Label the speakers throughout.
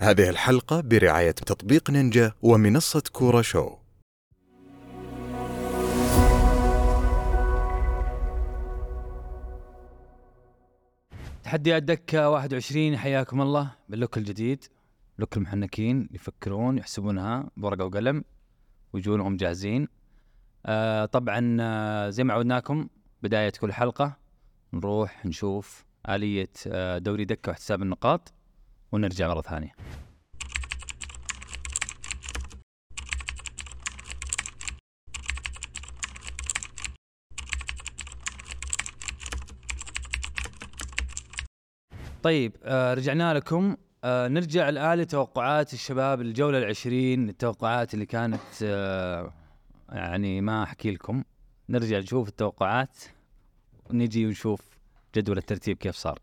Speaker 1: هذه الحلقة برعاية تطبيق نينجا ومنصة كورة شو
Speaker 2: تحديات دكة 21 حياكم الله باللوك الجديد لوك المحنكين يفكرون يحسبونها بورقة وقلم ويجونهم جاهزين آه طبعا آه، زي ما عودناكم بداية كل حلقة نروح نشوف آلية آه دوري دكة واحتساب النقاط ونرجع مرة ثانية طيب آه رجعنا لكم آه نرجع الآن لتوقعات الشباب الجولة العشرين التوقعات اللي كانت آه يعني ما أحكي لكم نرجع نشوف التوقعات ونجي ونشوف جدول الترتيب كيف صار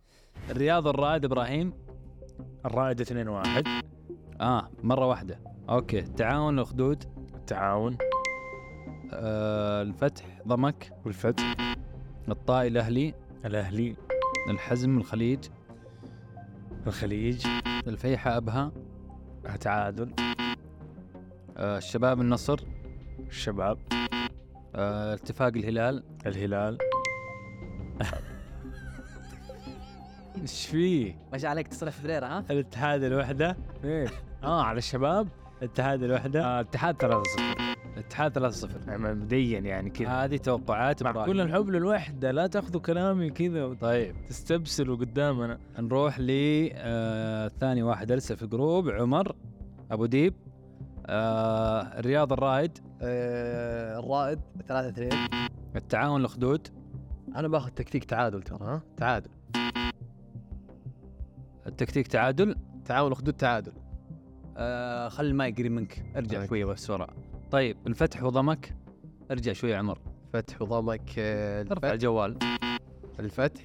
Speaker 2: الرياض الرائد إبراهيم
Speaker 3: الرائد 2 1
Speaker 2: آه مرة واحدة أوكي تعاون الأخدود
Speaker 3: التعاون
Speaker 2: آه الفتح ضمك
Speaker 3: والفتح
Speaker 2: الطائي الأهلي
Speaker 3: الاهلي
Speaker 2: الحزم الخليج
Speaker 3: الخليج
Speaker 2: الفيحة أبها
Speaker 3: تعادل
Speaker 2: آه الشباب النصر
Speaker 3: الشباب
Speaker 2: آه اتفاق الهلال
Speaker 3: الهلال
Speaker 2: ايش فيه؟
Speaker 4: ما شاء عليك تصلح فبراير ها؟
Speaker 3: الاتحاد الوحده
Speaker 2: ايه
Speaker 3: اه على الشباب الاتحاد الوحده
Speaker 2: آه الاتحاد 3-0 الاتحاد 3-0
Speaker 3: آه. مبدئيا يعني كذا طيب.
Speaker 2: هذه توقعات
Speaker 3: مع
Speaker 2: إبراهيم.
Speaker 3: كل الحب للوحده لا تاخذوا كلامي كذا
Speaker 2: طيب
Speaker 3: وتستبسلوا قدامنا
Speaker 2: نروح ل آه ثاني واحد لسه في الجروب عمر ابو ديب آه الرياض الرائد
Speaker 4: آه الرائد 3 2
Speaker 2: التعاون الاخدود
Speaker 4: انا باخذ تكتيك تعادل ترى ها؟ تعادل
Speaker 2: التكتيك تعادل
Speaker 4: تعاون خدود تعادل
Speaker 2: آه خلي ما يقري منك ارجع
Speaker 4: طيب.
Speaker 2: شويه بس ورا طيب الفتح وضمك ارجع شويه عمر
Speaker 4: فتح وضمك آه،
Speaker 2: ارفع
Speaker 4: الفتح
Speaker 2: الجوال
Speaker 4: الفتح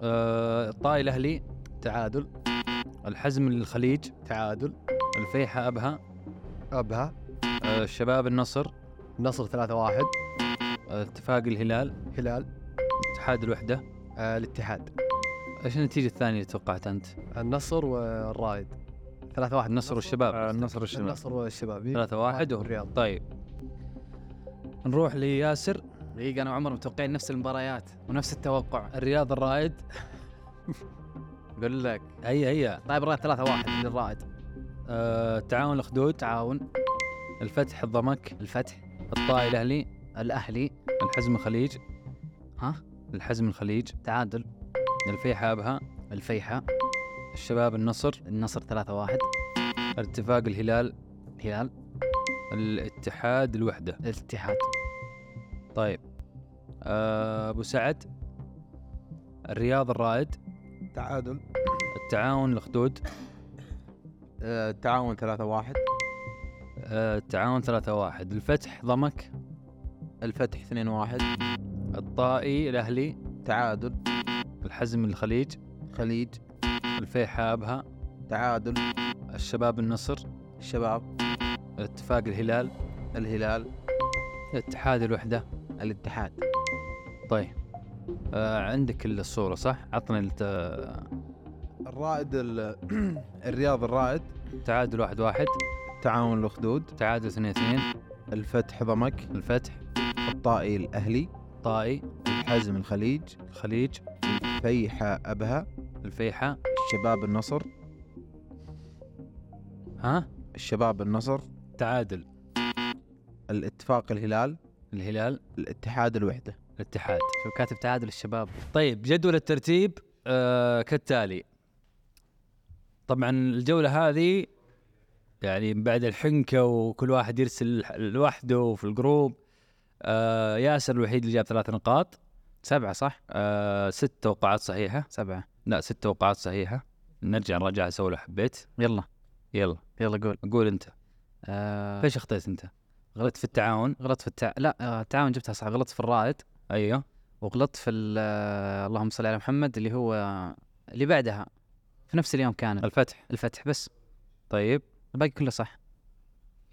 Speaker 2: آه الطائي الاهلي
Speaker 4: تعادل
Speaker 2: الحزم الخليج
Speaker 4: تعادل
Speaker 2: الفيحة أبها
Speaker 4: ابها
Speaker 2: آه، الشباب النصر
Speaker 4: نصر 3 1
Speaker 2: آه، اتفاق الهلال
Speaker 4: هلال
Speaker 2: اتحاد الوحدة
Speaker 4: آه الاتحاد
Speaker 2: ايش النتيجة الثانية اللي توقعتها أنت؟
Speaker 4: النصر والرائد 3 1
Speaker 2: النصر والشباب
Speaker 3: آه، النصر والشباب
Speaker 4: النصر والشباب إيه.
Speaker 2: ثلاثة واحد والرياض
Speaker 4: والرياض.
Speaker 2: طيب نروح لياسر
Speaker 5: دقيقة أنا وعمر متوقعين نفس المباريات ونفس التوقع
Speaker 2: الرياض الرائد
Speaker 5: أقول لك
Speaker 2: هيا هيا
Speaker 5: طيب رائد ثلاثة واحد للرائد
Speaker 2: آه، التعاون الأخدود
Speaker 5: تعاون
Speaker 2: الفتح الضمك
Speaker 5: الفتح
Speaker 2: الطائي الأهلي
Speaker 5: الأهلي
Speaker 2: الحزم الخليج
Speaker 5: ها؟
Speaker 2: الحزم الخليج
Speaker 5: تعادل
Speaker 2: الفيحة أبها
Speaker 5: الفيحة
Speaker 2: الشباب النصر
Speaker 5: النصر ثلاثة واحد
Speaker 2: اتفاق الهلال
Speaker 5: هلال
Speaker 2: الاتحاد الوحدة
Speaker 5: الاتحاد
Speaker 2: طيب آه، ابو سعد الرياض الرائد
Speaker 6: تعادل
Speaker 2: التعاون الاخدود
Speaker 6: آه، التعاون ثلاثة واحد
Speaker 2: آه، التعاون ثلاثة واحد الفتح ضمك
Speaker 6: الفتح اثنين واحد
Speaker 2: الطائي الاهلي
Speaker 6: تعادل
Speaker 2: الحزم الخليج
Speaker 6: خليج
Speaker 2: الفيحة ابها
Speaker 6: تعادل
Speaker 2: الشباب النصر
Speaker 6: الشباب
Speaker 2: اتفاق الهلال
Speaker 6: الهلال
Speaker 2: اتحاد الوحدة
Speaker 6: الاتحاد
Speaker 2: طيب آه، عندك الصورة صح؟ عطنا الت-
Speaker 6: الرائد ال... الرياض الرائد
Speaker 2: التعادل واحد واحد
Speaker 6: تعاون الأخدود
Speaker 2: تعادل اثنين اثنين
Speaker 6: الفتح ضمك
Speaker 2: الفتح
Speaker 6: الطائي الأهلي
Speaker 2: طائي
Speaker 6: الحزم الخليج
Speaker 2: الخليج
Speaker 6: الفيحة أبها
Speaker 2: الفيحة
Speaker 6: الشباب النصر
Speaker 2: ها؟
Speaker 6: الشباب النصر
Speaker 2: تعادل
Speaker 6: الاتفاق الهلال
Speaker 2: الهلال
Speaker 6: الاتحاد الوحدة
Speaker 2: الاتحاد
Speaker 5: شو كاتب تعادل الشباب
Speaker 2: طيب جدول الترتيب آه كالتالي طبعا الجولة هذه يعني من بعد الحنكة وكل واحد يرسل لوحده في الجروب آه ياسر الوحيد اللي جاب ثلاث نقاط
Speaker 5: سبعة صح؟
Speaker 2: آه ست توقعات صحيحة
Speaker 5: سبعة
Speaker 2: لا ست توقعات صحيحة نرجع نراجعها سوا لو حبيت
Speaker 5: يلا
Speaker 2: يلا
Speaker 5: يلا قول
Speaker 2: قول انت
Speaker 5: آه
Speaker 2: ايش اخطيت انت؟ غلطت في التعاون
Speaker 5: غلطت في التع... لا آه، التعاون جبتها صح غلطت في الرائد
Speaker 2: ايوه
Speaker 5: وغلطت في ال- آه، اللهم صل على محمد اللي هو اللي بعدها في نفس اليوم كانت
Speaker 2: الفتح
Speaker 5: الفتح بس
Speaker 2: طيب
Speaker 5: الباقي كله صح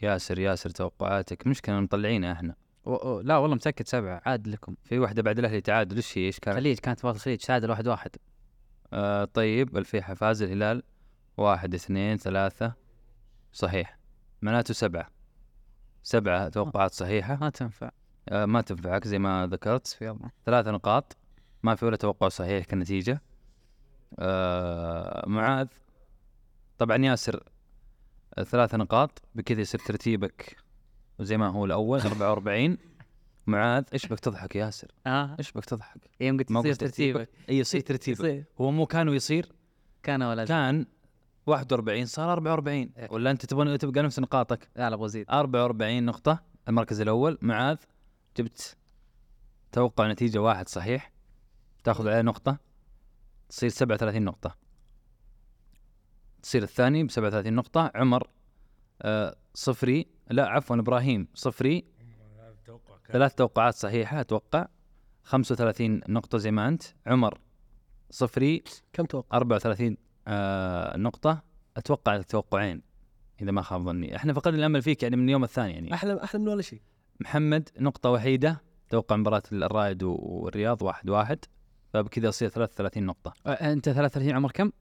Speaker 2: ياسر ياسر توقعاتك مشكلة مطلعينها احنا
Speaker 5: و... و- لا والله متأكد سبعة عاد لكم
Speaker 2: في واحدة بعد الاهلي تعادل ايش هي ايش كانت؟
Speaker 5: الخليج كانت مباراة الخليج تعادل واحد واحد
Speaker 2: آه طيب الفيحة فاز الهلال واحد اثنين ثلاثة صحيح معناته سبعة سبعة توقعات صحيحة
Speaker 5: ما تنفع
Speaker 2: آه، ما تنفعك زي ما ذكرت
Speaker 5: يلا
Speaker 2: ثلاث نقاط ما في ولا توقع صحيح كنتيجة آه معاذ طبعا ياسر آه، ثلاث نقاط بكذا يصير ترتيبك زي ما هو الأول 44 معاذ ايش بك تضحك يا ياسر؟
Speaker 5: اه
Speaker 2: ايش بك تضحك؟
Speaker 5: يوم قلت
Speaker 2: ما
Speaker 5: تصير
Speaker 2: قلت ترتيبك.
Speaker 5: ترتيبك
Speaker 2: اي يصير ترتيبك
Speaker 5: يصير
Speaker 2: هو مو كان ويصير
Speaker 5: كان ولا لا
Speaker 2: كان 41 صار 44
Speaker 5: إيه.
Speaker 2: ولا انت تبغى تبقى نفس نقاطك؟
Speaker 5: لا ابغى ازيد
Speaker 2: 44 نقطة المركز الأول معاذ جبت توقع نتيجة واحد صحيح تاخذ عليه نقطة تصير 37 نقطة تصير الثاني ب 37 نقطة عمر آه صفري لا عفوا إبراهيم صفري ثلاث توقعات صحيحة أتوقع 35 نقطة زي ما أنت عمر صفري
Speaker 7: كم توقع
Speaker 2: 34 آه نقطة أتوقع توقعين إذا ما خاب ظني احنا فقدنا الأمل فيك يعني من اليوم الثاني يعني
Speaker 7: احلى احلى من ولا شيء
Speaker 2: محمد نقطة وحيدة توقع مباراة الرائد و- والرياض واحد واحد فبكذا يصير 33 نقطة
Speaker 5: آه، انت 33 عمر كم؟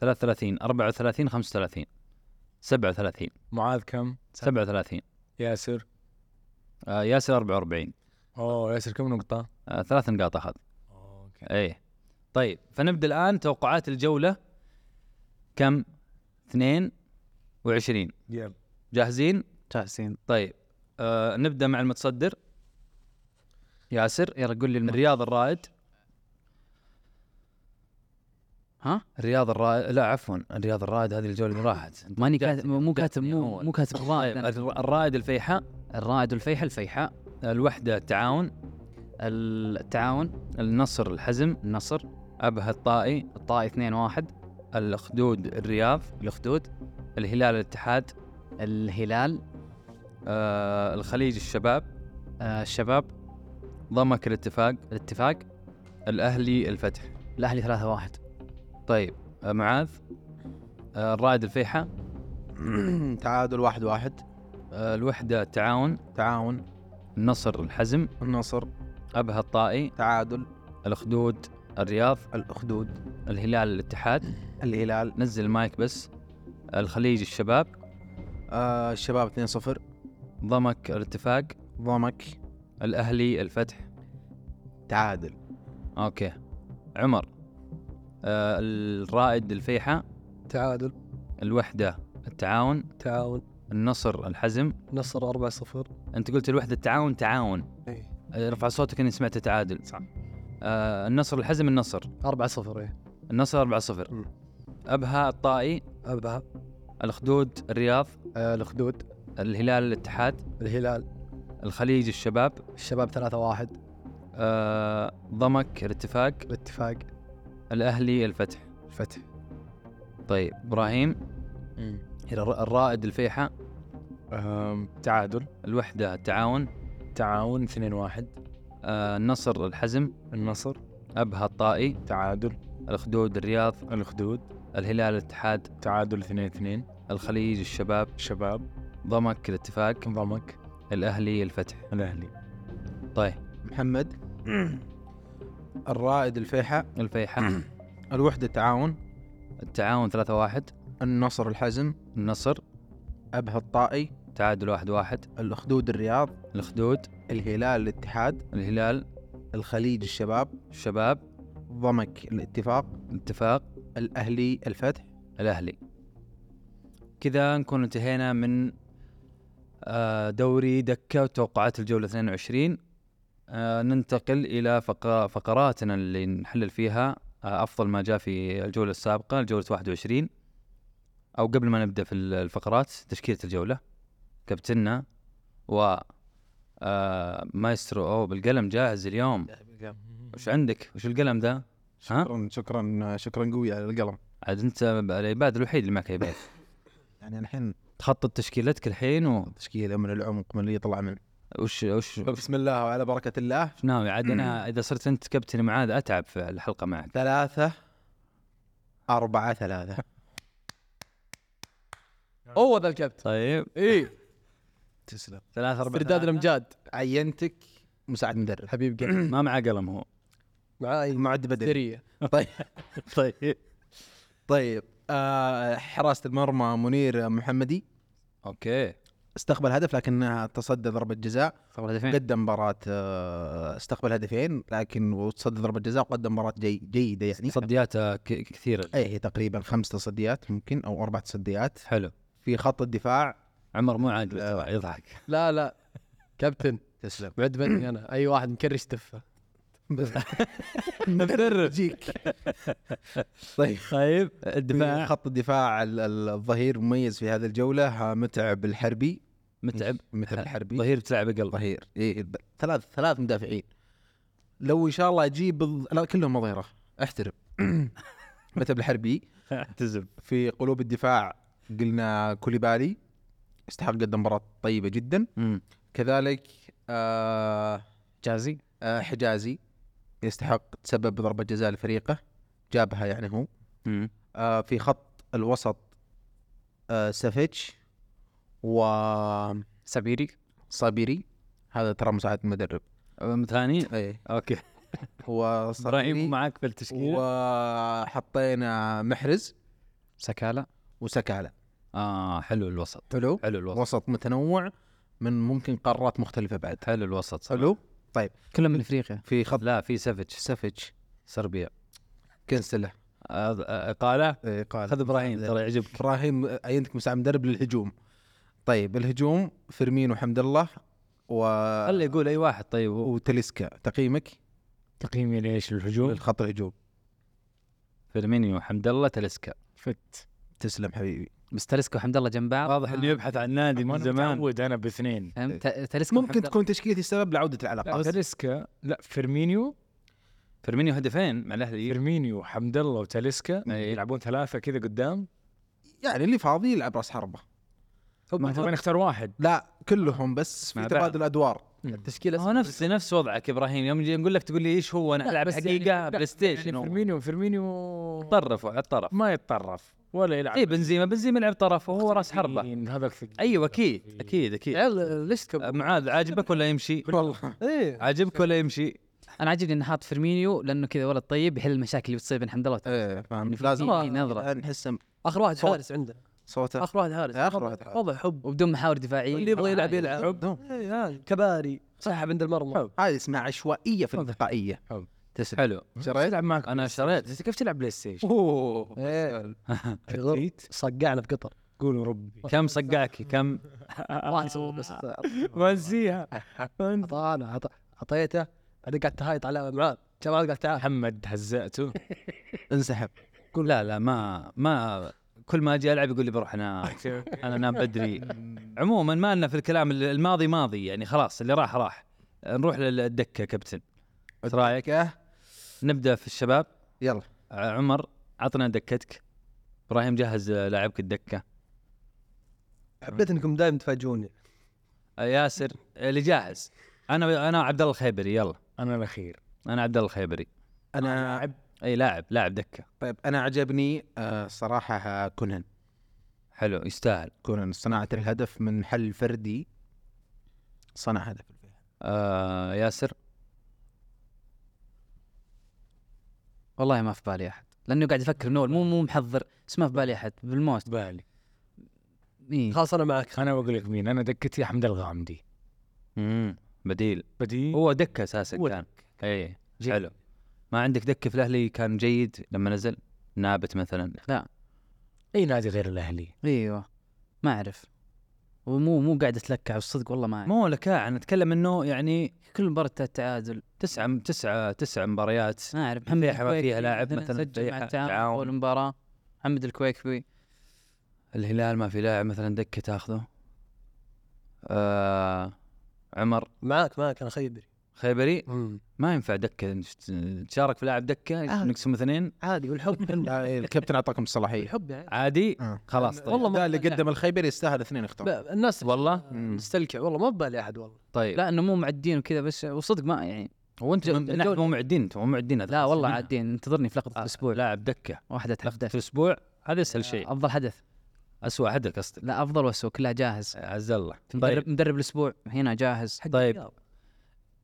Speaker 2: 33 34 35 37
Speaker 3: معاذ كم
Speaker 2: 37
Speaker 3: ياسر
Speaker 2: آه ياسر 44
Speaker 3: اوه ياسر كم نقطة
Speaker 2: آه ثلاث نقاط أخذ
Speaker 3: اوكي
Speaker 2: ايه طيب فنبدا الان توقعات الجوله كم 22
Speaker 3: يلا.
Speaker 2: جاهزين
Speaker 5: جاهزين
Speaker 2: طيب آه نبدا مع المتصدر ياسر
Speaker 5: يلا قول لي الم...
Speaker 2: الرياض الرائد
Speaker 5: ها؟
Speaker 2: الرياض الرائد لا عفوا الرياض الرائد هذه الجوله اللي راحت
Speaker 5: ماني كاتب مو كاتب مو
Speaker 2: أول.
Speaker 5: مو كاتب
Speaker 2: طيب
Speaker 5: الرائد
Speaker 2: الر- الرائد الفيحاء
Speaker 5: الرائد والفيحة الفيحة
Speaker 2: الوحده التعاون
Speaker 5: التعاون
Speaker 2: النصر الحزم
Speaker 5: النصر
Speaker 2: ابها الطائي
Speaker 5: الطائي 2 1
Speaker 2: الاخدود الرياض
Speaker 5: الأخدود
Speaker 2: الهلال الاتحاد
Speaker 5: الهلال
Speaker 2: آه الخليج الشباب
Speaker 5: آه الشباب
Speaker 2: ضمك الاتفاق
Speaker 5: الاتفاق
Speaker 2: الاهلي الفتح
Speaker 5: الأهلي 3 1
Speaker 2: طيب آه، معاذ آه، الرائد الفيحة
Speaker 6: تعادل واحد واحد
Speaker 2: آه، الوحدة التعاون
Speaker 6: تعاون
Speaker 2: النصر الحزم
Speaker 6: النصر
Speaker 2: أبها الطائي
Speaker 6: تعادل
Speaker 2: الأخدود الرياض
Speaker 6: الأخدود
Speaker 2: الهلال الاتحاد
Speaker 6: الهلال
Speaker 2: نزل المايك بس الخليج الشباب
Speaker 6: آه الشباب 2 0
Speaker 2: ضمك الاتفاق
Speaker 6: ضمك
Speaker 2: الأهلي الفتح
Speaker 6: تعادل
Speaker 2: أوكي عمر آه، الرائد الفيحة
Speaker 7: تعادل
Speaker 2: الوحدة التعاون
Speaker 7: تعاون
Speaker 2: النصر الحزم
Speaker 7: نصر 4 0
Speaker 2: انت قلت الوحده التعاون تعاون
Speaker 7: إيه.
Speaker 2: آه، رفع صوتك اني سمعت تعادل صح آه النصر الحزم النصر
Speaker 7: 4 0 ايه
Speaker 2: النصر 4 0
Speaker 7: مم.
Speaker 2: ابها الطائي
Speaker 7: ابها
Speaker 2: الاخدود الرياض
Speaker 7: آه الخدود
Speaker 2: الهلال الاتحاد
Speaker 7: الهلال
Speaker 2: الخليج الشباب
Speaker 7: الشباب 3 1
Speaker 2: آه ضمك الاتفاق
Speaker 7: الاتفاق
Speaker 2: الاهلي الفتح
Speaker 7: الفتح
Speaker 2: طيب ابراهيم الر- الرائد الفيحة
Speaker 3: أم، تعادل
Speaker 2: الوحده التعاون
Speaker 3: تعاون 2 1
Speaker 2: آه النصر الحزم
Speaker 3: النصر
Speaker 2: ابها الطائي
Speaker 3: تعادل
Speaker 2: الاخدود الرياض
Speaker 3: الأخدود
Speaker 2: الهلال الاتحاد
Speaker 3: تعادل 2 2
Speaker 2: الخليج الشباب
Speaker 3: شباب
Speaker 2: ضمك الاتفاق
Speaker 3: ضمك
Speaker 2: الاهلي الفتح
Speaker 3: الأهلي
Speaker 2: طيب
Speaker 6: محمد الرائد الفيحاء
Speaker 2: الفيحة
Speaker 6: الوحدة تعاون
Speaker 2: التعاون 3 1
Speaker 6: النصر الحزم
Speaker 2: النصر
Speaker 6: أبها الطائي
Speaker 2: تعادل 1 1
Speaker 6: الأخدود الرياض
Speaker 2: الخدود
Speaker 6: الهلال الاتحاد
Speaker 2: الهلال
Speaker 6: الخليج الشباب
Speaker 2: الشباب
Speaker 6: ضمك الاتفاق
Speaker 2: الاتفاق
Speaker 6: الأهلي الفتح
Speaker 2: الاهلي كذا نكون انتهينا من آه، دوري دكة وتوقعات الجولة 22 آه، ننتقل إلى فقرة فقراتنا اللي نحلل فيها آه، أفضل ما جاء في الجولة السابقة الجولة 21 أو قبل ما نبدأ في ال- الفقرات تشكيلة الجولة كابتننا و آه، مايسترو أو بالقلم جاهز اليوم وش عندك؟ وش القلم ذا؟ ها؟
Speaker 6: شكرا شكرا شكرا قوي على القلم
Speaker 2: عاد أنت العباد الوحيد اللي معك عباد
Speaker 6: يعني الحين
Speaker 2: تخطط تشكيلتك الحين و...
Speaker 6: تشكيله من العمق من اللي يطلع منه
Speaker 2: وش وش وش
Speaker 6: بسم الله وعلى بركة الله
Speaker 2: ناوي عاد انا اذا صرت انت كابتن معاذ اتعب في الحلقه معك
Speaker 6: ثلاثة أربعة ثلاثة أوه ذا الكابتن
Speaker 2: طيب
Speaker 7: ايه
Speaker 6: تسلم
Speaker 2: ثلاث اربع
Speaker 7: استرداد الامجاد
Speaker 6: عينتك مساعد مدرب
Speaker 7: حبيب قلبي
Speaker 2: ما معه قلم هو
Speaker 7: معاي
Speaker 6: معد بدري
Speaker 7: دريه
Speaker 6: طيب طيب طيب آه حراسه المرمى منير محمدي
Speaker 2: اوكي
Speaker 6: استقبل هدف لكنها تصدى ضربه جزاء
Speaker 5: صار
Speaker 2: إيه.
Speaker 5: هدفين
Speaker 6: قدم مباراه آه استقبل هدفين لكن وتصدى ضربه جزاء وقدم مباراه جي جيده يعني
Speaker 2: تصديات آه، ك- كثيره
Speaker 6: اي هي تقريبا خمس تصديات ممكن او اربع تصديات
Speaker 2: حلو
Speaker 6: في خط الدفاع
Speaker 2: عمر مو عاجبه ترى، يضحك
Speaker 4: لا لا كابتن
Speaker 6: تسلم
Speaker 4: بعد مني انا اي واحد مكرش تفه
Speaker 2: مدرب
Speaker 6: جيك طيب
Speaker 2: طيب
Speaker 6: في
Speaker 2: الدفاع
Speaker 6: خط الدفاع ال- ال- الظهير مميز في هذه الجوله ها، متعب الحربي
Speaker 2: متعب
Speaker 6: متعب الحربي
Speaker 2: ظهير بتلعب قلب
Speaker 6: ظهير إيه ب- ثلاث ثلاث مدافعين لو ان شاء الله اجيب ال- لا كلهم ظهيره احترم متعب الحربي
Speaker 2: اعتزب
Speaker 6: في قلوب الدفاع قلنا كوليبالي استحق قدم مباراه طيبه جدا
Speaker 2: مم.
Speaker 6: كذلك آه
Speaker 5: جازي
Speaker 6: آه، حجازي يستحق تسبب بضربة جزاء لفريقه جابها يعني هو
Speaker 2: مم.
Speaker 6: آه، في خط الوسط آه، سافيتش وصابيري
Speaker 5: سابيري
Speaker 6: هذا ترى مساعد المدرب
Speaker 2: أم ثاني
Speaker 6: ايه
Speaker 2: اوكي
Speaker 6: هو
Speaker 2: ابراهيم
Speaker 6: صابيري
Speaker 2: معك في التشكيله
Speaker 6: وحطينا محرز
Speaker 5: سكالة
Speaker 6: وسكالة
Speaker 2: اه حلو الوسط
Speaker 6: حلو
Speaker 2: حلو الوسط
Speaker 6: وسط متنوع من ممكن قارات مختلفة بعد
Speaker 2: حلو الوسط صراحة.
Speaker 6: حلو
Speaker 5: كلهم من افريقيا
Speaker 6: في خط
Speaker 2: لا في سافيتش
Speaker 6: سافيتش
Speaker 2: صربيا
Speaker 6: كنسله
Speaker 2: آه، آه، اقاله
Speaker 6: إيه، قال
Speaker 2: خذ ابراهيم ترى يعجبك
Speaker 6: ابراهيم عينتك مساعد مدرب للهجوم طيب الهجوم فيرمين وحمد الله و
Speaker 2: خليه يقول اي واحد طيب هو
Speaker 6: وتلسكا تقييمك
Speaker 3: تقييمي ليش الهجوم؟
Speaker 6: للخط الهجوم
Speaker 2: فيرمينيو حمد الله تلسكا
Speaker 3: فت
Speaker 6: تسلم حبيبي
Speaker 5: بس تلسكا وحمد الله جنب بعض
Speaker 2: واضح انه يبحث عن نادي من
Speaker 3: وأنا
Speaker 2: زمان
Speaker 3: متعود انا باثنين
Speaker 5: فهمت ت- تلسكا
Speaker 6: ممكن
Speaker 5: وحمد الله.
Speaker 6: تكون تشكيلتي السبب لعوده
Speaker 3: لا
Speaker 6: العلاقه
Speaker 3: تاليسكا لا فيرمينيو
Speaker 2: فيرمينيو هدفين مع الاهلي
Speaker 3: فيرمينيو وحمد الله وتاليسكا
Speaker 2: إيه.
Speaker 3: يلعبون ثلاثه كذا قدام
Speaker 6: يعني اللي فاضي يلعب راس حربه
Speaker 3: ما تبغى نختار واحد
Speaker 6: لا كلهم بس
Speaker 2: مع
Speaker 6: في
Speaker 2: بعض.
Speaker 6: تبادل ادوار
Speaker 4: التشكيله
Speaker 2: هو نفس نفس وضعك ابراهيم يوم نجي نقول لك تقول لي ايش هو انا
Speaker 3: لا،
Speaker 2: العب
Speaker 3: بس
Speaker 2: حقيقه
Speaker 3: يعني- لا،
Speaker 2: بلاي
Speaker 3: يعني
Speaker 2: ستيشن هو.
Speaker 3: فيرمينيو فيرمينيو
Speaker 2: طرف وعد طرف
Speaker 3: ما يتطرف ولا يلعب
Speaker 2: اي بنزيما بنزيما يلعب طرف وهو راس
Speaker 5: يعني-
Speaker 2: حربه
Speaker 3: إيه، هذا الثقيل.
Speaker 2: ايوه اكيد اكيد اكيد
Speaker 4: عيال ليش
Speaker 2: أه،
Speaker 4: تكبر؟
Speaker 2: معاذ عاجبك ولا يمشي؟
Speaker 6: والله
Speaker 4: ايه
Speaker 2: عاجبك ولا يمشي؟
Speaker 5: انا عاجبني انه حاط فيرمينيو لانه كذا ولد طيب يحل المشاكل اللي بتصير بين حمد الله وت-
Speaker 6: ايه فاهم
Speaker 5: يعني في-
Speaker 6: لازم
Speaker 5: في نظرة.
Speaker 6: نحس
Speaker 4: اخر واحد
Speaker 6: صوت.
Speaker 4: حارس عندنا
Speaker 6: صوته
Speaker 4: اخر واحد حارس
Speaker 6: آخر
Speaker 4: وضع-
Speaker 6: واحد حارس.
Speaker 4: وضع حب
Speaker 5: وبدون محاور آه. دفاعيه
Speaker 4: واللي يبغى يلعب يلعب
Speaker 6: دوم.
Speaker 4: إيه، هذا كباري سحب عند المرمى
Speaker 6: هذه اسمها عشوائيه في التقائيه
Speaker 3: حلو.
Speaker 6: تسلم
Speaker 2: حلو
Speaker 6: شريت؟
Speaker 3: يلعب معك
Speaker 2: انا شريت
Speaker 3: انت كيف تلعب بلاي ستيشن؟
Speaker 6: اوه
Speaker 4: إيه. شغل.
Speaker 3: تيت
Speaker 4: صقعنا في قطر
Speaker 3: قول ربي
Speaker 2: كم صقعك كم
Speaker 4: واحد سوى بس
Speaker 3: ما انسيها
Speaker 4: اعطانا عط- اعطيته بعدين قعدت تهايط على معاذ جمال قال تعال
Speaker 3: محمد هزأته
Speaker 6: انسحب
Speaker 2: قول لا لا ما ما كل ما اجي العب يقول لي بروح انام انا انام بدري عموما ما لنا في الكلام ال- الماضي ماضي يعني خلاص اللي راح راح نروح للدكه كابتن ايش رايك؟ نبدا في الشباب
Speaker 6: يلا
Speaker 2: ع- عمر عطنا دكتك ابراهيم جهز آه، لاعبك الدكه
Speaker 4: حبيت انكم دائما تفاجئوني
Speaker 2: آه، ياسر آه، اللي جاهز انا انا عبد الله الخيبري يلا
Speaker 3: انا الاخير
Speaker 2: انا عبد الله الخيبري
Speaker 6: انا
Speaker 2: اي لاعب لاعب دكه
Speaker 6: طيب انا عجبني آه، صراحه آه، كونان
Speaker 2: حلو يستاهل
Speaker 6: كونان صناعه الهدف من حل فردي صنع هدف
Speaker 2: آه ياسر
Speaker 5: والله ما في بالي احد لانه قاعد افكر من اول مو مو محضر بس ما في بالي احد بالموست
Speaker 3: بالي
Speaker 5: إيه.
Speaker 4: خلاص انا معك
Speaker 3: انا بقول لك مين انا دكتي احمد الغامدي
Speaker 2: مم. بديل
Speaker 3: بديل
Speaker 2: هو دكه اساسا
Speaker 3: هو
Speaker 2: كان اي
Speaker 3: جيد.
Speaker 2: حلو ما عندك دكه في الاهلي كان جيد لما نزل نابت مثلا
Speaker 3: اي نادي غير الاهلي
Speaker 5: ايوه ما اعرف ومو مو قاعد اتلكع والصدق والله ما اعرف
Speaker 2: مو لك انا اتكلم انه يعني
Speaker 5: كل مباراه تعادل
Speaker 2: تسع تسع تسع مباريات
Speaker 5: ما اعرف محمد
Speaker 2: فيحة ما
Speaker 5: الكويكبي
Speaker 2: فيها لاعب
Speaker 5: مثلاً
Speaker 2: مثلاً،
Speaker 5: سجل مع
Speaker 2: فيحة،
Speaker 5: التعاون
Speaker 2: تعاون.
Speaker 5: اول مباراه محمد الكويكبي
Speaker 2: الهلال ما في لاعب مثلا دكه تاخذه آه عمر
Speaker 4: معاك معاك انا خيبري
Speaker 2: خيبري ما ينفع دكه تشارك في لاعب دكه
Speaker 4: آه.
Speaker 2: نقسم اثنين
Speaker 4: عادي والحب حلو.
Speaker 6: يعني الكابتن اعطاكم الصلاحيه
Speaker 4: الحب يعني
Speaker 2: عادي
Speaker 6: آه.
Speaker 2: خلاص طيب.
Speaker 4: والله
Speaker 6: لا
Speaker 4: ما
Speaker 6: اللي قدم الخيبر يستاهل اثنين يختار
Speaker 4: ب- الناس
Speaker 2: والله
Speaker 6: مم.
Speaker 4: مستلكع والله ما ببالي احد والله
Speaker 2: طيب
Speaker 5: لا انه مو معدين وكذا بس وصدق ما يعني
Speaker 2: هو انت
Speaker 5: جو-
Speaker 2: من- نحن
Speaker 5: جو-
Speaker 2: مو معدين انتم مو معدين هذا
Speaker 5: لا
Speaker 2: خلاص
Speaker 5: والله
Speaker 2: منها.
Speaker 5: عادين انتظرني في لقطه
Speaker 2: آه،
Speaker 5: الاسبوع
Speaker 2: لاعب دكه
Speaker 5: واحد
Speaker 2: لقطه
Speaker 5: اتحدى
Speaker 2: الاسبوع هذا اسهل شيء
Speaker 5: افضل آه، حدث
Speaker 2: اسوء حدث قصدي
Speaker 5: لا افضل واسوء كلها جاهز
Speaker 2: عز الله
Speaker 5: مدرب
Speaker 2: طيب
Speaker 5: مدرب الاسبوع هنا جاهز
Speaker 2: طيب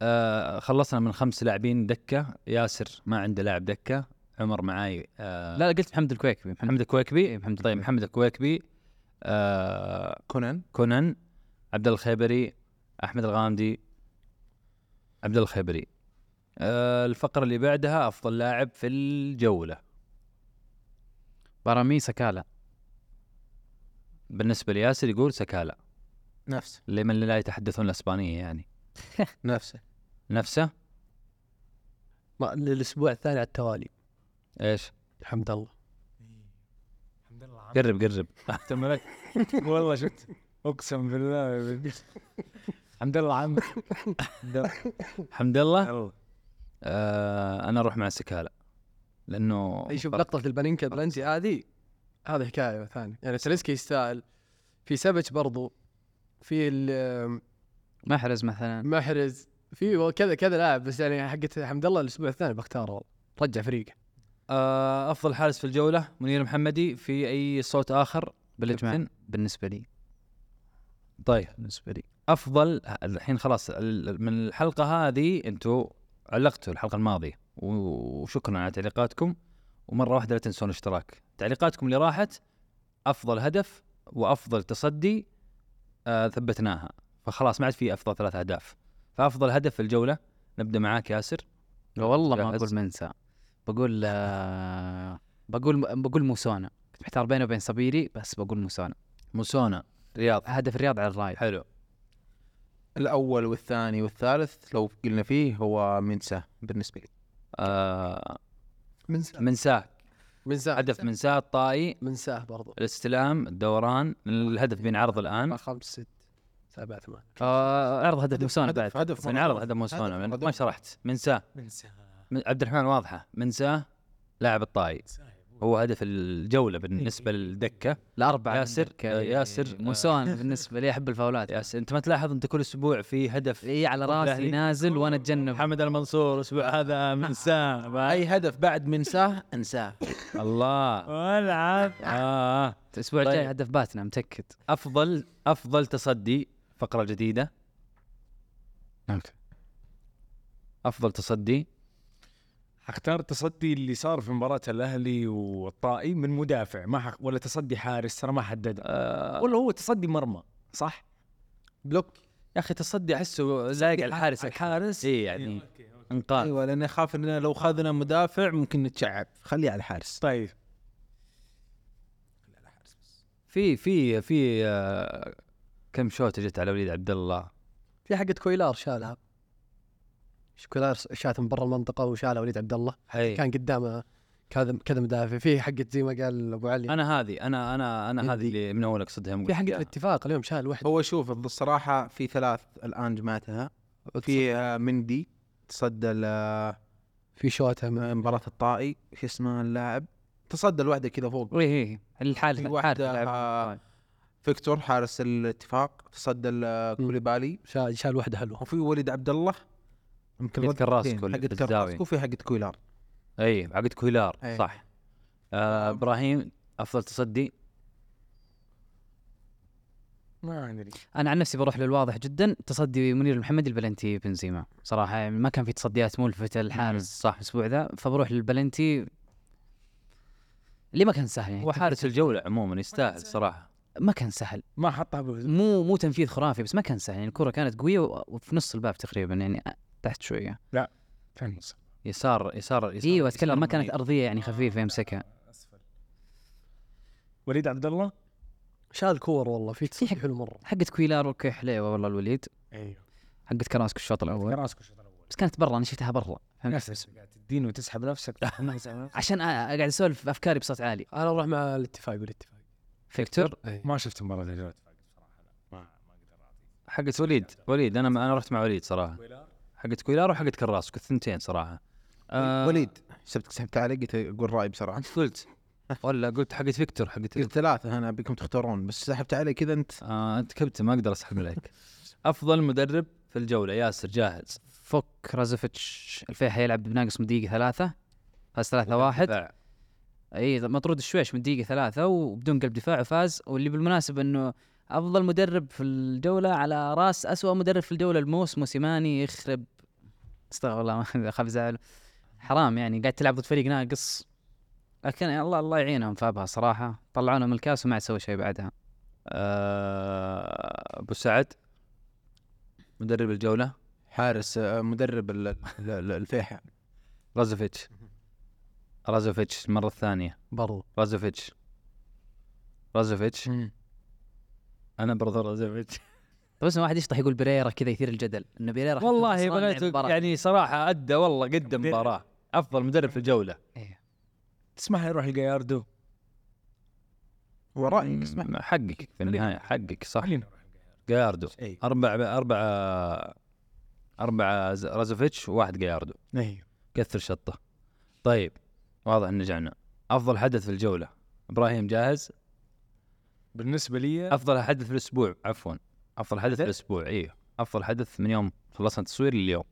Speaker 2: آه خلصنا من خمس لاعبين دكه ياسر ما عنده لاعب دكه عمر معاي آه
Speaker 5: لا قلت محمد الكويكبي محمد
Speaker 2: محمد الكويكبي
Speaker 5: إيه، محمد
Speaker 2: طيب محمد الكويكبي آه
Speaker 6: كونان
Speaker 2: كونان عبد الله الخيبري احمد الغامدي عبد الله الخيبري آه الفقره اللي بعدها افضل لاعب في الجوله
Speaker 5: بارامي سكالا
Speaker 2: بالنسبه لياسر يقول سكالا
Speaker 6: نفسه
Speaker 2: لمن لا يتحدثون الاسبانيه يعني
Speaker 6: نفسه
Speaker 2: نفسه
Speaker 4: ما- للاسبوع الثاني على التوالي
Speaker 2: ايش
Speaker 4: الحمد لله
Speaker 3: الحمد لله عم.
Speaker 2: قرب قرب
Speaker 3: اهتم لك والله شفت اقسم بالله الحمد لله عم
Speaker 2: حمد الله آه انا اروح مع سكالا لانه
Speaker 4: شوف
Speaker 2: فرق.
Speaker 4: لقطه البانينكا بلنتي هذه هذه حكايه ثانيه يعني سلسكي يستاهل في سبج برضو في ال-
Speaker 5: محرز مثلا
Speaker 4: محرز في كذا كذا لاعب بس يعني حقت حمد الله الاسبوع الثاني بختاره والله رجع فريقه
Speaker 2: آه افضل حارس في الجوله منير محمدي في اي صوت اخر
Speaker 5: بالاجماع
Speaker 2: كابتن؟
Speaker 5: بالنسبه لي
Speaker 2: طيب
Speaker 5: بالنسبه لي
Speaker 2: افضل الحين خلاص ال- من الحلقه هذه انتم علقتوا الحلقه الماضيه و- وشكرا على تعليقاتكم ومره واحده لا تنسون الاشتراك تعليقاتكم اللي راحت افضل هدف وافضل تصدي آه ثبتناها فخلاص ما عاد في افضل ثلاث اهداف فافضل هدف في الجوله نبدا معاك ياسر
Speaker 5: والله ما
Speaker 2: جاهز؟
Speaker 5: اقول منسى بقول آه، بقول بقول موسونا كنت محتار بينه وبين صبيري بس بقول موسونا
Speaker 2: موسونا رياض
Speaker 5: هدف الرياض على الرايد
Speaker 2: حلو
Speaker 6: الاول والثاني والثالث لو قلنا فيه هو منساه بالنسبه لي
Speaker 2: آه
Speaker 4: من
Speaker 2: منساه
Speaker 4: منساه
Speaker 2: هدف منساه الطائي
Speaker 4: منساه برضو
Speaker 2: الاستلام الدوران الهدف بينعرض الان
Speaker 4: خمس ست سبعة ثمان
Speaker 5: آه، عرض هدف موسونا بعد
Speaker 6: هدف هدف
Speaker 2: بينعرض يعني هدف موسونا
Speaker 6: هدف
Speaker 2: ما شرحت منساه من- عبد الرحمن واضحه منساه لاعب الطائي هو هدف الجوله
Speaker 6: إيه.
Speaker 2: بالنسبه للدكه
Speaker 5: الاربعه
Speaker 2: ياسر-
Speaker 5: عندك، آه،
Speaker 2: ياسر، آه.
Speaker 5: موسونا بالنسبه لي احب الفاولات
Speaker 2: يا س- انت ما تلاحظ انت كل اسبوع في هدف
Speaker 5: اي على راسي
Speaker 2: الأهلي.
Speaker 5: نازل وانا اتجنب
Speaker 2: محمد المنصور الاسبوع هذا منساه
Speaker 6: اي هدف بعد منساه انساه
Speaker 2: الله والعب آه.
Speaker 5: الاسبوع الجاي
Speaker 2: طيب.
Speaker 5: هدف باتنا متاكد
Speaker 2: افضل افضل تصدي فقره جديده
Speaker 5: أوكي.
Speaker 2: افضل تصدي
Speaker 3: حختار التصدي اللي صار في مباراة الأهلي والطائي من مدافع ما حق ولا تصدي حارس ترى ما حدد أه ولا هو تصدي مرمى صح؟
Speaker 6: بلوك
Speaker 2: يا اخي تصدي احسه لايق على الحارس
Speaker 3: الحارس
Speaker 2: اي
Speaker 6: إيه.
Speaker 2: يعني انقاذ
Speaker 6: ايوه لاني خاف اننا لو خذنا مدافع ممكن نتشعب خليه على الحارس
Speaker 3: طيب
Speaker 2: في في في آه، كم شوطه جت على وليد عبد الله
Speaker 4: في حقت كويلار شالها كويلار شات من برا المنطقة وشالها وليد عبد الله
Speaker 2: هي.
Speaker 4: كان قدامه كذا كذا مدافع في حقت زي ما قال ابو علي
Speaker 2: انا هذه انا انا انا هذه اللي من اول اقصدها يوم
Speaker 4: في حقت
Speaker 2: قلت إياها.
Speaker 4: الاتفاق اليوم شال واحد
Speaker 6: هو شوف الصراحه في ثلاث الان جمعتها في آه، مندي تصدى ل-
Speaker 4: في شوته ما-
Speaker 6: مباراه الطائي شو اسمه اللاعب تصدى الواحده كذا فوق
Speaker 2: إيه،
Speaker 5: اي اي الحارس
Speaker 6: في
Speaker 5: الحارس
Speaker 6: واحده
Speaker 5: يلعب.
Speaker 6: آه،
Speaker 2: طيب.
Speaker 6: فيكتور حارس الاتفاق تصدى آه، لكوليبالي
Speaker 4: شال شال واحده حلوه
Speaker 6: وفي وليد عبد الله يمكن
Speaker 2: حقت كراس
Speaker 6: ردتين،
Speaker 2: كل-
Speaker 6: حقت
Speaker 2: بالزاوية.
Speaker 6: كراسكو وفي حقت كويلار
Speaker 2: اي عقد كويلار
Speaker 6: أي.
Speaker 2: صح آه ابراهيم افضل تصدي
Speaker 3: ما ادري
Speaker 5: انا عن نفسي بروح للواضح جدا تصدي منير المحمدي البلنتي بنزيما صراحه يعني ما كان في تصديات ملفته للحارس صح الاسبوع ذا فبروح للبلنتي اللي ما كان سهل يعني
Speaker 2: هو حارس الجوله عموما يستاهل صراحه
Speaker 5: ما كان سهل
Speaker 3: ما حطها بوز
Speaker 5: مو مو تنفيذ خرافي بس ما كان سهل يعني الكره كانت قويه و- وفي نص الباب تقريبا يعني تحت شويه
Speaker 3: فهمت
Speaker 2: يسار يسار يسار
Speaker 5: ايوه اتكلم ما
Speaker 2: يسار
Speaker 5: كانت
Speaker 2: منيب.
Speaker 5: ارضيه يعني خفيفه يمسكها
Speaker 3: وليد عبد الله
Speaker 4: شال كور والله في تصدي حلو مره
Speaker 5: حقت كويلار اوكي حليوه والله الوليد
Speaker 3: ايوه
Speaker 5: حقت كراسكو الشوط الاول
Speaker 3: راسك الشوط الاول
Speaker 5: بس كانت برا انا شفتها برا فهمت؟
Speaker 3: ناس قاعد تدين وتسحب نفسك
Speaker 5: عشان أ- قاعد اسولف افكاري بصوت عالي
Speaker 4: انا اروح مع الاتفاق بالاتفاق
Speaker 5: فيكتور
Speaker 3: ما شفت مباراة الهلال
Speaker 2: حقت وليد وليد انا انا رحت مع وليد صراحه حقت كويلار وحقت كراسكو الثنتين صراحه آه
Speaker 6: وليد سبت سحبت عليه قلت اقول رايي بسرعه
Speaker 2: قلت ولا قلت حقت فيكتور حقت
Speaker 6: قلت ثلاثه انا بكم تختارون بس سحبت عليه كذا انت
Speaker 2: آه انت كبت ما اقدر اسحب عليك افضل مدرب في الجوله ياسر جاهز
Speaker 5: فك رازوفيتش الفيحاء يلعب بناقص من دقيقة ثلاثة فاز ثلاثة واحد
Speaker 2: دفاع.
Speaker 5: اي مطرود الشويش من دقيقة ثلاثة وبدون قلب دفاع وفاز واللي بالمناسبة انه افضل مدرب في الجولة على راس اسوأ مدرب في الجولة الموس موسيماني يخرب استغفر الله ما أخاف ازعله حرام يعني قاعد تلعب ضد فريق ناقص
Speaker 2: لكن الله الله يعينهم فابها صراحه طلعونا من الكاس وما عاد سووا شيء بعدها
Speaker 8: آه، ابو سعد مدرب الجوله
Speaker 6: حارس آه، مدرب ال- ال- ال-
Speaker 2: يعني
Speaker 6: الفيحاء
Speaker 8: رازوفيتش رازوفيتش المره الثانيه
Speaker 9: برضو
Speaker 8: رازوفيتش رازوفيتش
Speaker 3: مم.
Speaker 8: انا برضه رازوفيتش طيب
Speaker 2: طب اسمع واحد يشطح يقول بريرا كذا يثير الجدل انه بريرا حتى
Speaker 8: والله
Speaker 2: خسران لعب
Speaker 8: بغيت
Speaker 2: مباراة.
Speaker 8: يعني صراحه ادى والله قد
Speaker 3: مدرب.
Speaker 8: مباراه افضل يعني مدرب في الجوله
Speaker 3: تسمح لي اروح الجاياردو
Speaker 6: هو رايك اسمع
Speaker 8: حقك في النهايه حقك صح
Speaker 3: خلينا
Speaker 8: جاردو
Speaker 6: اي
Speaker 8: اربع اربع اربع ز- رازوفيتش وواحد جاردو
Speaker 3: ايوه
Speaker 8: كثر شطه طيب واضح ان رجعنا افضل حدث في الجوله ابراهيم جاهز
Speaker 3: بالنسبه لي
Speaker 8: افضل حدث في الاسبوع عفوا افضل حدث في الاسبوع ايوه افضل حدث من يوم خلصنا التصوير لليوم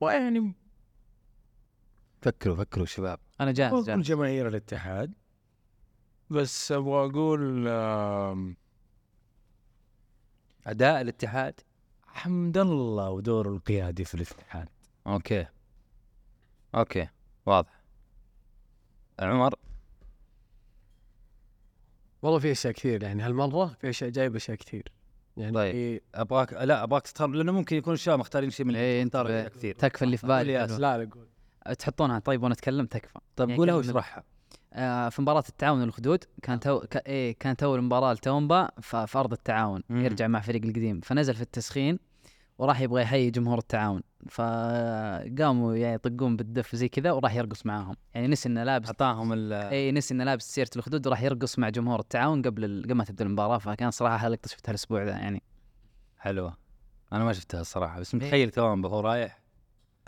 Speaker 8: يعني
Speaker 3: ويعني
Speaker 8: فكروا فكروا شباب
Speaker 2: انا جاهز
Speaker 3: بقول
Speaker 2: جاهز
Speaker 3: جماهير الاتحاد بس ابغى اقول آم،
Speaker 8: اداء الاتحاد
Speaker 3: حمد الله ودوره القيادي في الاتحاد
Speaker 8: اوكي اوكي واضح عمر
Speaker 4: والله في اشياء كثير يعني هالمره في اشياء جايب اشياء كثير يعني
Speaker 8: طيب.
Speaker 4: في-
Speaker 8: ابغاك لا ابغاك تختار لانه ممكن يكون الشباب مختارين شيء من
Speaker 2: اي انت
Speaker 8: اختار
Speaker 2: ب-
Speaker 8: كثير
Speaker 2: إيه، تكفى اللي في بالي
Speaker 8: يا
Speaker 2: حلو.
Speaker 4: لا لا قول
Speaker 2: تحطونها طيب وانا اتكلم تكفى
Speaker 8: طب
Speaker 2: يعني
Speaker 8: قولها
Speaker 2: كلمة-
Speaker 8: واشرحها
Speaker 2: آه، في مباراة التعاون والخدود
Speaker 8: آه.
Speaker 2: كانت أو... ك... إيه كانت أول مباراة لتومبا ف... في أرض التعاون
Speaker 8: مم.
Speaker 2: يرجع مع فريق القديم فنزل في التسخين وراح يبغى يحيي جمهور التعاون فقاموا يعني يطقون بالدف زي كذا وراح يرقص معاهم يعني نسي انه لابس
Speaker 8: اعطاهم ال
Speaker 2: اي نسي انه لابس سيره الخدود وراح يرقص مع جمهور التعاون قبل ال... قبل ما تبدا المباراه فكان صراحه حلقة شفتها الاسبوع ذا يعني إيه.
Speaker 8: حلوه انا ما شفتها الصراحه بس متخيل توام هو رايح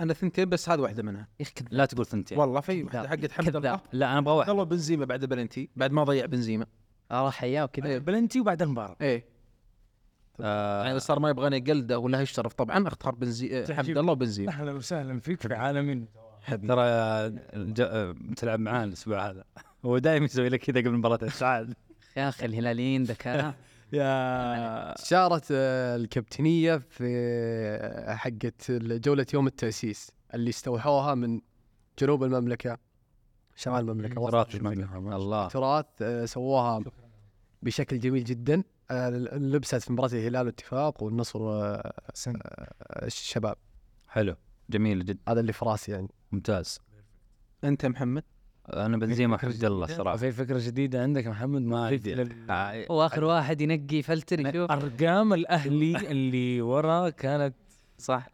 Speaker 6: انا ثنتين بس هذه واحده منها
Speaker 2: يا اخي كذاب
Speaker 8: لا تقول ثنتين
Speaker 6: والله في
Speaker 2: كذاب.
Speaker 6: واحده حقت حمد الله
Speaker 2: كذاب.
Speaker 6: عبد
Speaker 8: لا انا ابغى واحد
Speaker 6: الله بنزيما بعد بلنتي بعد ما ضيع بنزيما
Speaker 8: نعم.
Speaker 2: آه، راح حياه
Speaker 8: أيوه.
Speaker 2: وكذا
Speaker 3: بلنتي وبعد المباراه
Speaker 6: ايه يعني صار ما يبغانا يقلده ولا يشرف طبعا اختار بنزي آه، حمد
Speaker 3: تحجيب.
Speaker 6: الله وبنزيما
Speaker 3: اهلا وسهلا فيك في عالم
Speaker 6: حبيبي
Speaker 8: ترى الج- بتلعب معاه الاسبوع هذا هو دائما يسوي لك كذا قبل مباراه السعاد
Speaker 2: يا اخي الهلاليين ذكاء
Speaker 8: يا
Speaker 4: شارت آه، الكابتنيه في آه، حقت جوله يوم التاسيس اللي استوحوها من جنوب المملكه شمال المملكه وسط
Speaker 8: تراث المملكة. الله
Speaker 4: التراث آه، سووها بشكل جميل جدا آه، لبست في مباراه الهلال والاتفاق والنصر آه، والشباب
Speaker 8: حلو جميل جدا
Speaker 4: هذا اللي في راسي يعني
Speaker 8: ممتاز
Speaker 6: انت محمد
Speaker 8: انا بنزيما حمد الله صراحه
Speaker 3: في فكره جديده عندك يا محمد ما
Speaker 8: أدري.
Speaker 3: لل-
Speaker 8: آه،
Speaker 2: واخر واحد ينقي فلتر يشوف
Speaker 3: ارقام الاهلي اللي ورا كانت
Speaker 2: صح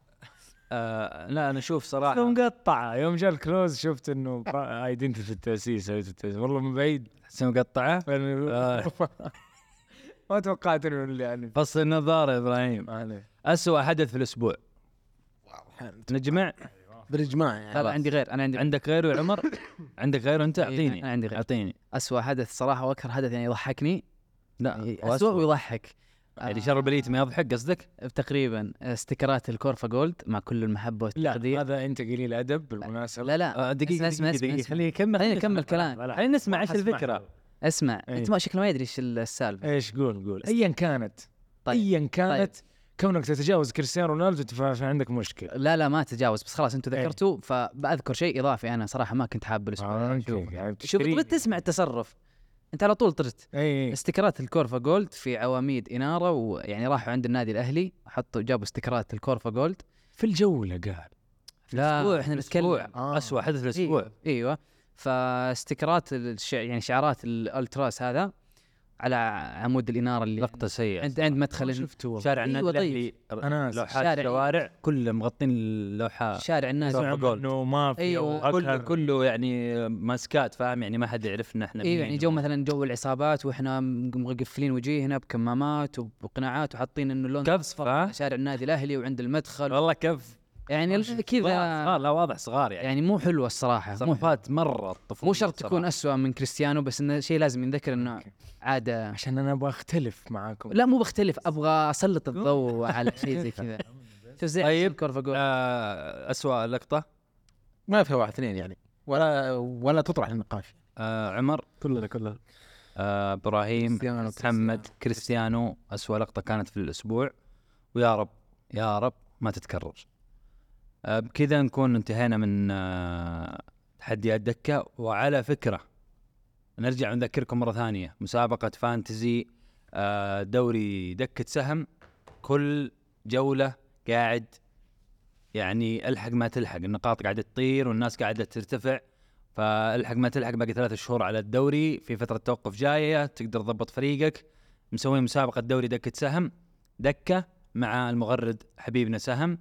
Speaker 8: آه، لا انا اشوف صراحه
Speaker 3: مقطعه يوم جاء الكلوز شفت انه ايدنتي في التاسيس أيدنتي في التأسيس. والله من بعيد يعني
Speaker 8: حسين مقطعه آه.
Speaker 3: ما توقعت انه اللي يعني
Speaker 8: فصل النظاره يا ابراهيم
Speaker 3: معليش.
Speaker 8: اسوء حدث في الاسبوع نجمع
Speaker 6: برجمان يعني
Speaker 2: لا لا عندي غير انا عندي
Speaker 8: عندك غيره يا عمر عندك غيره انت اعطيني
Speaker 2: انا عندي غير
Speaker 8: اعطيني
Speaker 2: اسوء حدث صراحه واكثر حدث يعني يضحكني
Speaker 8: لا
Speaker 2: اسوء ويضحك آه.
Speaker 8: اللي شرب اليت ما يضحك قصدك؟
Speaker 2: تقريبا استكرات الكورفا جولد مع كل المحبه والتقدير
Speaker 3: لا هذا انت قليل ادب بالمناسبه
Speaker 2: لا لا
Speaker 8: آه، دقيقة
Speaker 2: اسمع
Speaker 8: دقيقة
Speaker 2: اسمع
Speaker 8: دقيقة
Speaker 2: اسمع
Speaker 8: خليه يكمل
Speaker 2: خلينا نكمل كلام.
Speaker 8: خلينا نسمع ايش
Speaker 3: أسمع.
Speaker 8: الفكرة
Speaker 2: اسمع
Speaker 3: إيه.
Speaker 2: انت ما شكله ما يدري ايش ال- السالفه
Speaker 3: ايش قول قول ايا كانت
Speaker 2: طيب.
Speaker 3: ايا كانت كونك تتجاوز كريستيانو رونالدو ف- فعندك مشكله
Speaker 2: لا لا ما تجاوز بس خلاص انتم
Speaker 3: إيه.
Speaker 2: ذكرتوا فبذكر شيء اضافي انا صراحه ما كنت حاب الاسبوع
Speaker 3: آه،
Speaker 2: شوف.
Speaker 3: أوكي. يعني
Speaker 2: شوف
Speaker 3: بتشتري-
Speaker 2: تبغى تسمع التصرف انت على طول طرت
Speaker 3: اي إي.
Speaker 2: استكرات الكورفا جولد في عواميد اناره ويعني راحوا عند النادي الاهلي حطوا جابوا استكرات الكورفا جولد
Speaker 3: في الجوله قال
Speaker 2: الأسبوع إحنا
Speaker 8: الأسبوع.
Speaker 2: نتكلم.
Speaker 8: آه. اسوء حدث في الاسبوع
Speaker 2: إيه. ايوه فاستكرات الش... يعني شعارات الالتراس هذا على عمود الاناره اللي
Speaker 8: لقطة سيئة
Speaker 2: عند عند مدخل الن-
Speaker 3: شفته أيوة، طيب.
Speaker 8: شارع
Speaker 2: إيه،
Speaker 8: النادي
Speaker 2: وطيب.
Speaker 8: الاهلي
Speaker 3: انا آسف.
Speaker 8: لوحات
Speaker 2: شارع-
Speaker 3: إيه.
Speaker 8: الشوارع كله مغطين اللوحة
Speaker 2: شارع الناس
Speaker 8: شارع
Speaker 3: سمع انه ما في
Speaker 2: أيوة.
Speaker 8: كله
Speaker 3: كل
Speaker 8: كله يعني ماسكات فاهم يعني ما حد يعرف ان احنا
Speaker 2: ايوه
Speaker 8: مين
Speaker 2: يعني جو مثلا جو العصابات واحنا مقفلين وجيهنا بكمامات وبقناعات وحاطين انه اللون
Speaker 8: كف فاهم؟
Speaker 2: شارع النادي الاهلي وعند المدخل
Speaker 8: والله كف
Speaker 2: يعني
Speaker 8: صغار
Speaker 2: كذا
Speaker 8: صغار، لا واضح صغار يعني
Speaker 2: يعني مو حلوه الصراحه مو
Speaker 8: تصرفات مرة طفولية
Speaker 2: مو شرط تكون أسوأ من كريستيانو بس انه شيء لازم ينذكر انه
Speaker 3: أوكي.
Speaker 2: عاده
Speaker 3: عشان انا ابغى اختلف معاكم
Speaker 2: لا مو بختلف ابغى اسلط الضوء على شيء زي كذا شوف زي
Speaker 8: طيب.
Speaker 2: عشان كورفا جول
Speaker 8: آه، أسوأ لقطة
Speaker 6: ما فيها واحد اثنين يعني ولا ولا تطرح النقاش
Speaker 8: آه، عمر
Speaker 9: كلنا كلنا
Speaker 8: آه، ابراهيم
Speaker 6: كريستيانو،
Speaker 8: محمد كريستيانو أسوأ لقطة كانت في الأسبوع ويا رب يا رب ما تتكرر
Speaker 2: آه، بكذا نكون انتهينا من آه، تحديات دكة وعلى فكرة نرجع ونذكركم مرة ثانية مسابقة فانتزي آه، دوري دكة سهم كل جولة قاعد يعني الحق ما تلحق النقاط قاعدة تطير والناس قاعدة ترتفع فالحق ما تلحق باقي ثلاثة شهور على الدوري في فترة توقف جاية تقدر تضبط فريقك مسوين مسابقة دوري دكة سهم دكة مع المغرد حبيبنا سهم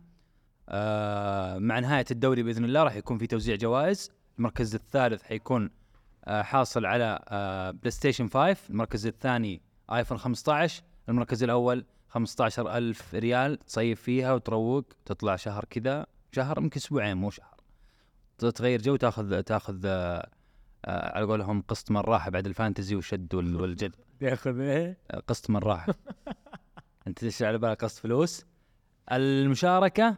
Speaker 2: آه، مع نهاية الدوري بإذن الله راح يكون في توزيع جوائز المركز الثالث حيكون آه، حاصل على آه، بلاي ستيشن 5 المركز الثاني ايفون 15 المركز الأول 15 ألف ريال تصيف فيها وتروق تطلع شهر كذا شهر يمكن أسبوعين مو شهر ت- تغير جو تاخذ تاخذ آه، آه، على قولهم قسط من الراحة بعد الفانتزي والشد وال- والجد
Speaker 3: ياخذ ايه
Speaker 2: قسط من الراحه انت تدش على بالك قسط فلوس المشاركه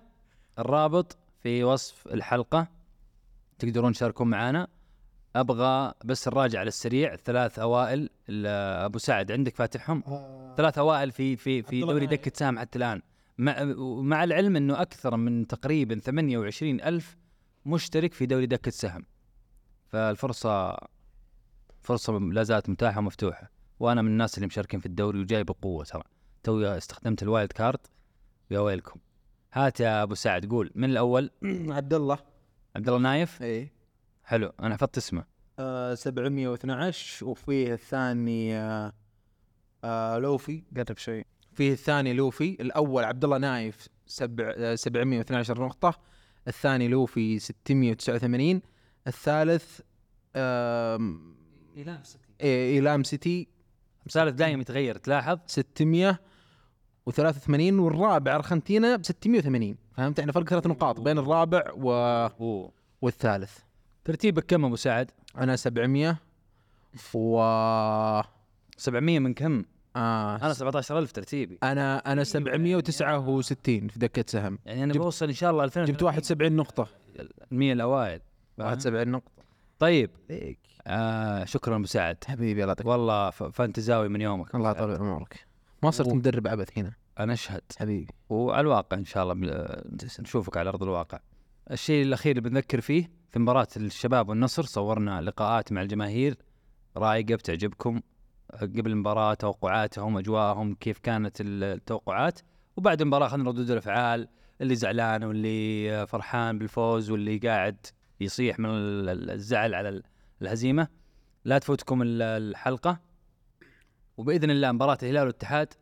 Speaker 2: الرابط في وصف الحلقه تقدرون تشاركون معانا ابغى بس نراجع على السريع الثلاث اوائل ال- ابو سعد عندك فاتحهم ثلاث اوائل في في في دوري دكه سام حتى الان مع, مع العلم انه اكثر من تقريبا 28 الف مشترك في دوري دكه سهم فالفرصه فرصه لا زالت متاحه ومفتوحه وانا من الناس اللي مشاركين في الدوري وجاي بقوه ترى توي استخدمت الوايلد كارد يا ويلكم هات يا ابو سعد قول من الاول
Speaker 6: عبد الله
Speaker 2: عبد الله نايف
Speaker 6: اي
Speaker 2: حلو انا حفظت اسمه
Speaker 6: آه 712 وفيه الثاني آه آه لوفي
Speaker 5: قرب شوي
Speaker 6: فيه الثاني لوفي الاول عبد الله نايف سبع آه، 712 نقطه الثاني لوفي 689 الثالث آم،
Speaker 5: ايلام سيتي
Speaker 6: إيه، ايلام سيتي
Speaker 2: الثالث دائما يتغير تلاحظ
Speaker 6: 683 والرابع ارخنتينا ب 680 فهمت احنا فرق ثلاث نقاط بين الرابع و...
Speaker 2: أوه.
Speaker 6: والثالث
Speaker 2: ترتيبك كم ابو سعد
Speaker 6: انا 700 و
Speaker 2: 700 من كم انا
Speaker 6: آه
Speaker 2: 17000 ترتيبي
Speaker 6: انا انا 769 في دكه سهم
Speaker 2: يعني انا بوصل ان شاء الله 2000
Speaker 6: جبت 71 نقطه
Speaker 2: 100 الاوائل
Speaker 6: 71 نقطه
Speaker 2: طيب
Speaker 6: ليك
Speaker 2: آه شكرا ابو سعد
Speaker 6: حبيبي الله يعطيك
Speaker 2: والله ف- فانتزاوي من يومك
Speaker 6: الله يطول عمرك ما صرت مدرب ابد هنا
Speaker 2: انا اشهد
Speaker 6: حبيبي
Speaker 2: وعلى الواقع ان شاء الله بل- نشوفك على ارض الواقع. الشيء الاخير اللي بنذكر فيه في مباراه الشباب والنصر صورنا لقاءات مع الجماهير رايقه بتعجبكم قبل المباراه توقعاتهم اجواءهم كيف كانت التوقعات وبعد المباراه اخذنا ردود الافعال اللي زعلان واللي فرحان بالفوز واللي قاعد يصيح من ال- ال- الزعل على ال- الهزيمه لا تفوتكم ال- الحلقه وباذن الله مباراه الهلال والاتحاد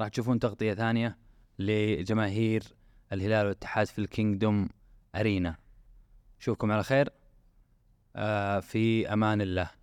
Speaker 2: راح تشوفون تغطيه ثانيه لجماهير الهلال والاتحاد في الكينجدوم ارينا اشوفكم على خير آه في امان الله